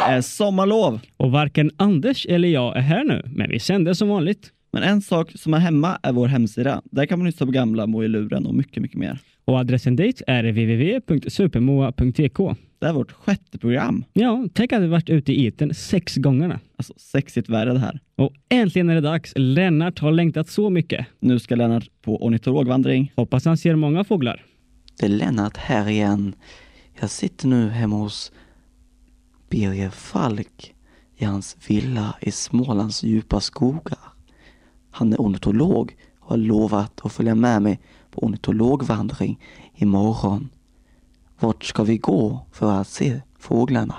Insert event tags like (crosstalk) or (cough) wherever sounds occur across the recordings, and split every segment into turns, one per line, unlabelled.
är sommarlov.
Och varken Anders eller jag är här nu, men vi sänder som vanligt.
Men en sak som är hemma är vår hemsida. Där kan man lyssna på gamla Moa i luren och mycket, mycket mer.
Och adressen dit är www.supermoa.tk.
Det är vårt sjätte program.
Ja, tänk att vi varit ute i etern sex gångerna.
Alltså sexigt värre det här.
Och äntligen är det dags. Lennart har längtat så mycket.
Nu ska Lennart på ornitologvandring.
Hoppas han ser många fåglar.
Det är Lennart här igen. Jag sitter nu hemma hos Birger Falk i hans villa i Smålands djupa skogar. Han är ornitolog och har lovat att följa med mig på ornitologvandring imorgon. Vart ska vi gå för att se fåglarna?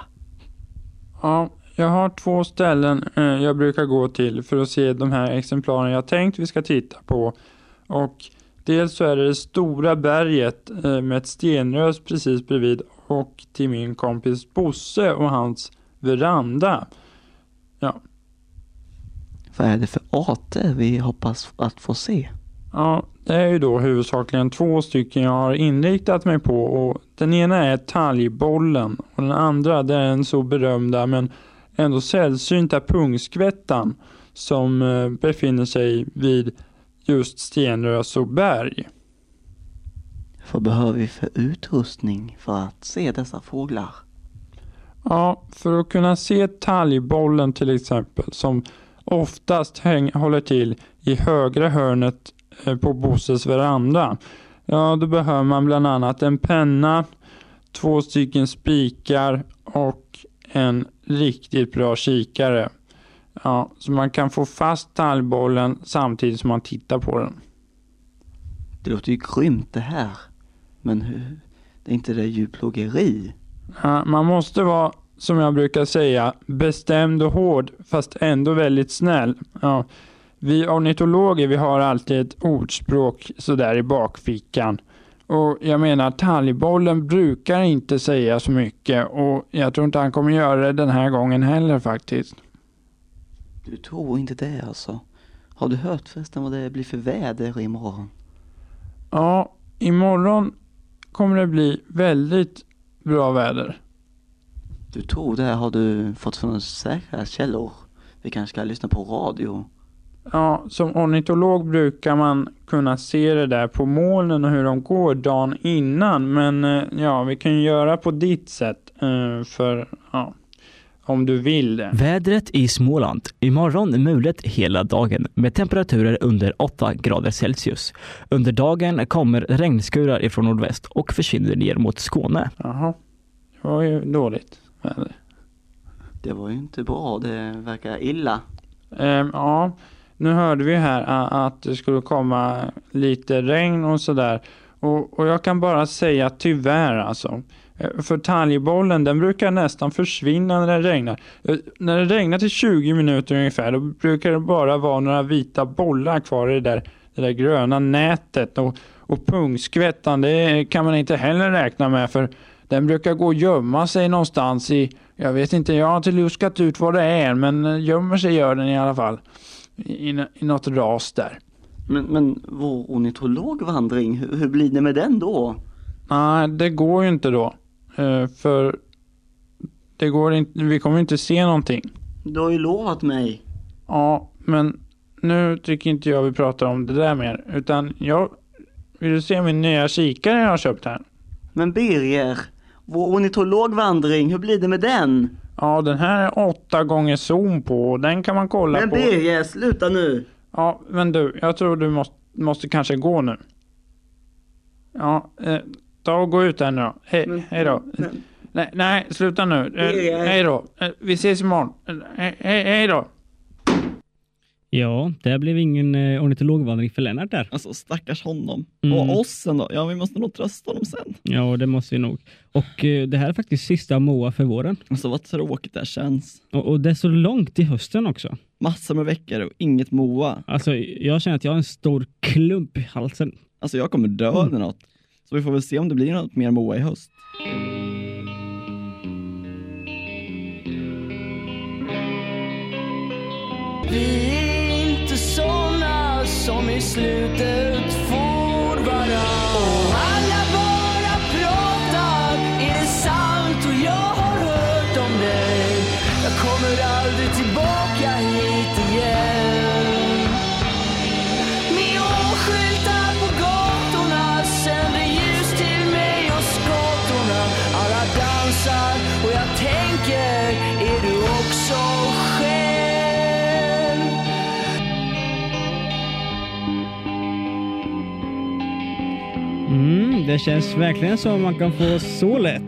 Ja, jag har två ställen eh, jag brukar gå till för att se de här exemplaren jag tänkt vi ska titta på. Och dels så är det det stora berget eh, med ett stenrös precis bredvid och till min kompis Bosse och hans veranda.
Vad är det för arter vi hoppas att få se?
Ja, det är ju då huvudsakligen två stycken jag har inriktat mig på och den ena är talgbollen och den andra det är den så berömda men ändå sällsynta pungskvättan som eh, befinner sig vid just Stenrös och berg.
Vad behöver vi för utrustning för att se dessa fåglar?
Ja, för att kunna se talgbollen till exempel som oftast häng, håller till i högra hörnet eh, på Bosses veranda. Ja, då behöver man bland annat en penna, två stycken spikar och en riktigt bra kikare. Ja, så man kan få fast talgbollen samtidigt som man tittar på den.
Det låter ju grymt det här. Men hur? Det är inte det djurplågeri?
Ja, man måste vara, som jag brukar säga, bestämd och hård fast ändå väldigt snäll. Ja. Vi ornitologer vi har alltid ett ordspråk sådär i bakfickan. Och jag menar, talgbollen brukar inte säga så mycket och jag tror inte han kommer göra det den här gången heller faktiskt.
Du tror inte det alltså? Har du hört förresten vad det blir för väder imorgon?
Ja, imorgon kommer det bli väldigt bra väder.
Du tror det har du fått från säkra källor. Vi kanske ska lyssna på radio.
Ja, som ornitolog brukar man kunna se det där på molnen och hur de går dagen innan. Men eh, ja, vi kan ju göra på ditt sätt. eh, För ja, om du vill det.
Vädret i Småland. Imorgon mulet hela dagen med temperaturer under 8 grader Celsius. Under dagen kommer regnskurar ifrån nordväst och försvinner ner mot Skåne.
Jaha, det var ju dåligt väder.
Det var ju inte bra. Det verkar illa.
Ehm, ja, nu hörde vi här a- att det skulle komma lite regn och sådär. Och, och jag kan bara säga tyvärr alltså. Eh, För talgbollen den brukar nästan försvinna när det regnar. Eh, När det regnar till 20 minuter ungefär då brukar det bara vara några vita bollar kvar i det där, det där gröna nätet. Och, och pungskvättan det kan man inte heller räkna med för den brukar gå och gömma sig någonstans i jag vet inte, jag har inte luskat ut vad det är, men eh, gömmer sig gör den i alla fall. I, i- i något ras där.
Men, men vår ornitologvandring, hur, hur blir det med den då?
Nej, det går ju inte då. Eh, För det går inte, vi kommer inte se någonting.
Du har ju lovat mig.
Ja, men nu tycker inte jag vi pratar om det där mer. Utan jag, vill du se min nya kikare jag har köpt här?
Men Birger, vår ornitologvandring, hur blir det med den?
Ja, den här är åtta gånger zoom på och den kan man kolla
Men
på.
Birger, sluta nu!
Ja, men du, jag tror du måste, måste kanske gå nu. Ja, eh, ta och gå ut där nu då. Hej, hej då. Nej, nej, sluta nu. Eh,
Birger.
hej då. Eh, vi ses imorgon. Eh, he- hej, hej då.
Ja, det blev ingen eh, ornitologvandring för Lennart där.
Alltså stackars honom.
Mm.
Och oss ändå. Ja, vi måste nog trösta honom sen.
Ja, det måste vi nog. Och eh, det här är faktiskt sista Moa för våren.
Alltså vad tråkigt det här känns.
Och, och det är så långt till hösten också.
Massor med veckor och inget Moa.
Alltså, jag känner att jag har en stor klump i halsen.
Alltså jag kommer dö eller något. Så vi får väl se om det blir något mer Moa i höst.
Vi är inte såna som i slutet får varann Och alla bara pratar, är det sant? Och jag har hört om dig kommer aldrig tillbaka hit igen Neonskyltar på gatorna sänder ljus till mig och skatorna Alla dansar och jag tänker, är du också själv?
Mm, det känns verkligen som man kan få så lätt.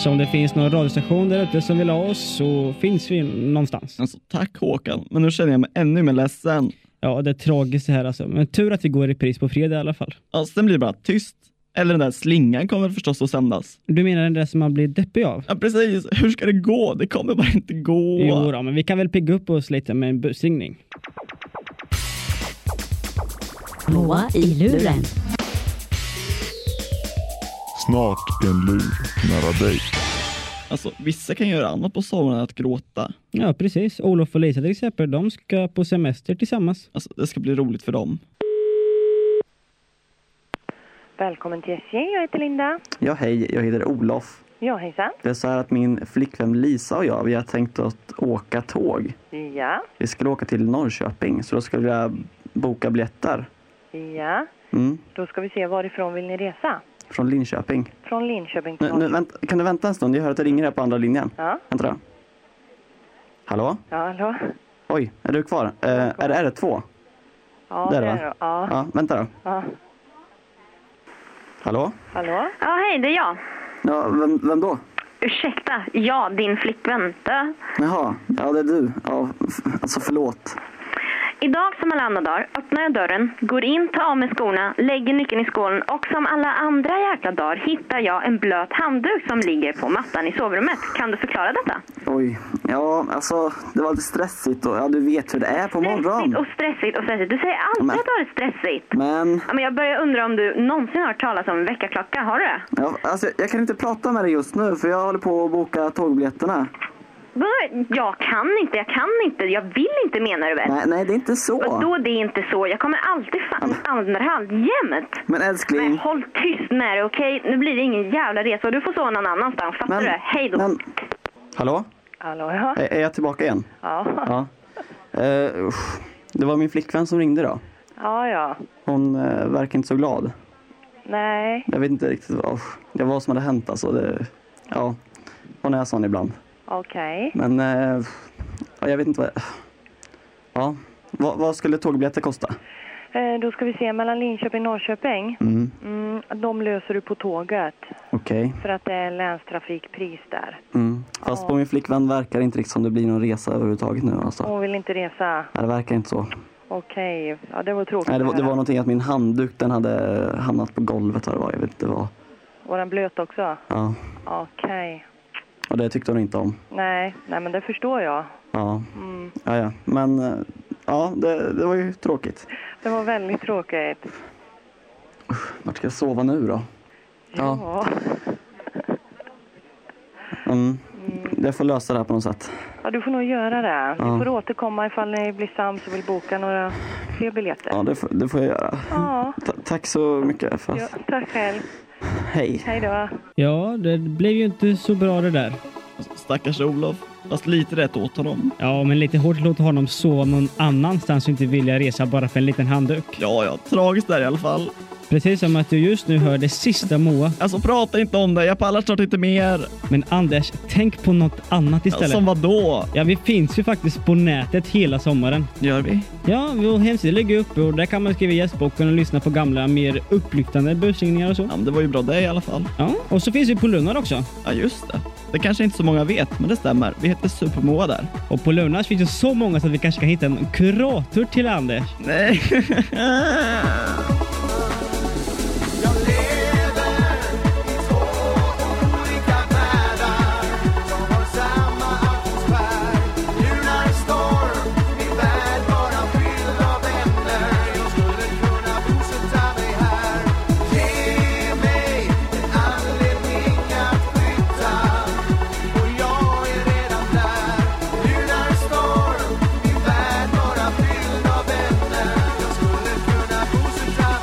Så om det finns någon radiostation där ute som vill ha oss så finns vi någonstans.
Alltså, tack Håkan, men nu känner jag mig ännu mer ledsen.
Ja, det är tragiskt det här alltså. Men tur att vi går i repris på fredag i alla fall.
Ja, sen Alltså, blir det bara tyst. Eller den där slingan kommer förstås att sändas.
Du menar den där som man blir deppig av?
Ja, precis. Hur ska det gå? Det kommer bara inte gå.
Jo, då, men vi kan väl pigga upp oss lite med en busringning.
Moa i luren.
Snart en lur nära dig.
Alltså, vissa kan göra annat på sommaren än att gråta.
Ja, precis. Olof och Lisa till exempel, de ska på semester tillsammans.
Alltså, det ska bli roligt för dem.
Välkommen till SJ, jag heter Linda.
Ja, hej. Jag heter Olof.
Ja, hejsan.
Det är så här att min flickvän Lisa och jag, vi har tänkt att åka tåg.
Ja,
Vi skulle åka till Norrköping, så då skulle jag boka biljetter.
ja.
Mm,
Då ska vi se, varifrån vill ni resa?
från Linköping.
Från Linköping till
Nu, nu,
Norrköping.
vänta, kan du vänta en stund? Jag hör att det ringer här på andra linjen.
Ja,
Vänta då. Hallå?
ja, hallå?
Oj, är du kvar? Eh, är det R2?
Ja,
Där, va?
är det. Ja,
Ja, vänta då.
ja.
Hallå?
Hallå?
Ja, hej, det är jag.
Ja, vem, vem då?
Ursäkta, ja, din flickvän. Dö.
Jaha, ja det är du. Ja, f- alltså förlåt.
Idag som alla andra dagar öppnar jag dörren, går in, tar av mig skorna, lägger nyckeln i skålen och som alla andra jäkla dagar hittar jag en blöt handduk som ligger på mattan i sovrummet. Kan du förklara detta?
Oj. Ja, alltså det var lite stressigt och ja, du vet hur det är på
Stressigt
morgonen.
och stressigt och stressigt. Du säger alltid
Men-
att du har det stressigt.
Men,
Ja, men jag börjar undra om du någonsin har hört talas om väckarklocka. Har du det?
ja, alltså, jag kan inte prata med dig just nu för jag håller på att boka tågbiljetterna.
Vadå? Jag kan inte, jag kan inte, jag vill inte menar du väl?
Nej, nej, det är inte så.
Vadå, det är inte så. Jag kommer alltid fan andra hand jämt.
Men
Nej,
älskling.
håll tyst med dig, okej? Nu blir det ingen jävla resa och du får sova någon annanstans. Fattar
Men,
du? Hej då.
men, hallå?
Hallå, ja.
Är, är jag tillbaka igen?
Ja,
Ja. Eh, usch. det var min flickvän som ringde då.
ja, ja.
Hon eh, verkar inte så glad.
Nej,
Jag vet inte riktigt vad, usch. det var vad som hade hänt alltså. Det, ja, hon är sån ibland.
okej.
Men eh, ja, jag vet inte vad... Ja, vad, vad skulle tågbiljetter kosta?
Eh, då ska vi se, mellan Linköping och Norrköping.
Mm,
Mm, de löser du på tåget
Okej.
för att det är länstrafikpris där.
Mm. Fast på min flickvän verkar det inte riktigt som det blir någon resa överhuvudtaget nu alltså.
Hon vill inte resa.
Nej, det verkar inte så.
Okej, ja det var tråkigt
Nej, det, var,
att
det var
höra.
någonting att min handduk den hade hamnat på golvet vad det var. Jag vet inte vad.
Var den blöt också?
Ja,
Okej.
och det tyckte hon inte om.
Nej, nej men det förstår jag.
Ja, ja, ja. Men eh, ja, det, det var ju tråkigt.
Det var väldigt tråkigt.
Vart ska jag sova nu då? Ja,
Ja.
mm. jag får lösa det här på något sätt.
Ja, du får nog göra det. Du
Ja.
får återkomma ifall ni blir sams och vill boka några fler biljetter.
Ja, det, får- det får jag göra.
Ja,
Ta- tack så mycket. För...
ja tack själv.
Hej.
Hej då.
Ja, det blev ju inte så bra det där.
Alltså, stackars Olof. Fast lite rätt åt honom.
Ja, men lite hårt att låta honom sova någon annanstans och inte vilja resa bara för en liten handduk.
Ja, ja. Tragiskt där i alla fall.
Precis som att du just nu hör det sista Moa.
Alltså, prata inte om det. Jag pallar snart inte mer.
Men Anders, tänk på något annat
Ja,
istället.
som vadå?
Ja, vi finns ju faktiskt på nätet hela sommaren.
Gör vi?
Ja, vår hemsida ligger uppe och där kan man skriva gästboken och lyssna på gamla, mer upplyftande busringningar och så.
Ja, men det var ju bra det i alla fall.
Ja, och så finns vi på Lunar också.
Ja, just det. Det kanske inte så många vet, men det stämmer. Vi heter Supermoa där.
Och på Lunar finns det så många så att vi kanske kan hitta en kurator till Anders.
Nej. (laughs)
Storm i värld bara fylld av vänner Jag skulle kunna fortsätta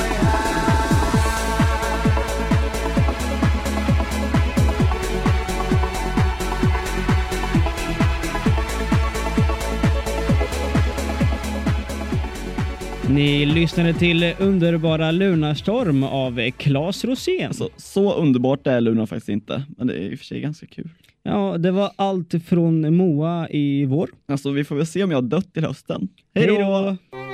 Ni lyssnade till underbara Lunarstorm av Klas Rosén.
Alltså, så underbart är Luna faktiskt inte, men det är i och för sig ganska kul.
Ja, det var allt från Moa i vår.
Alltså, vi får väl se om jag har dött till hösten.
Hej
Hej då!
då!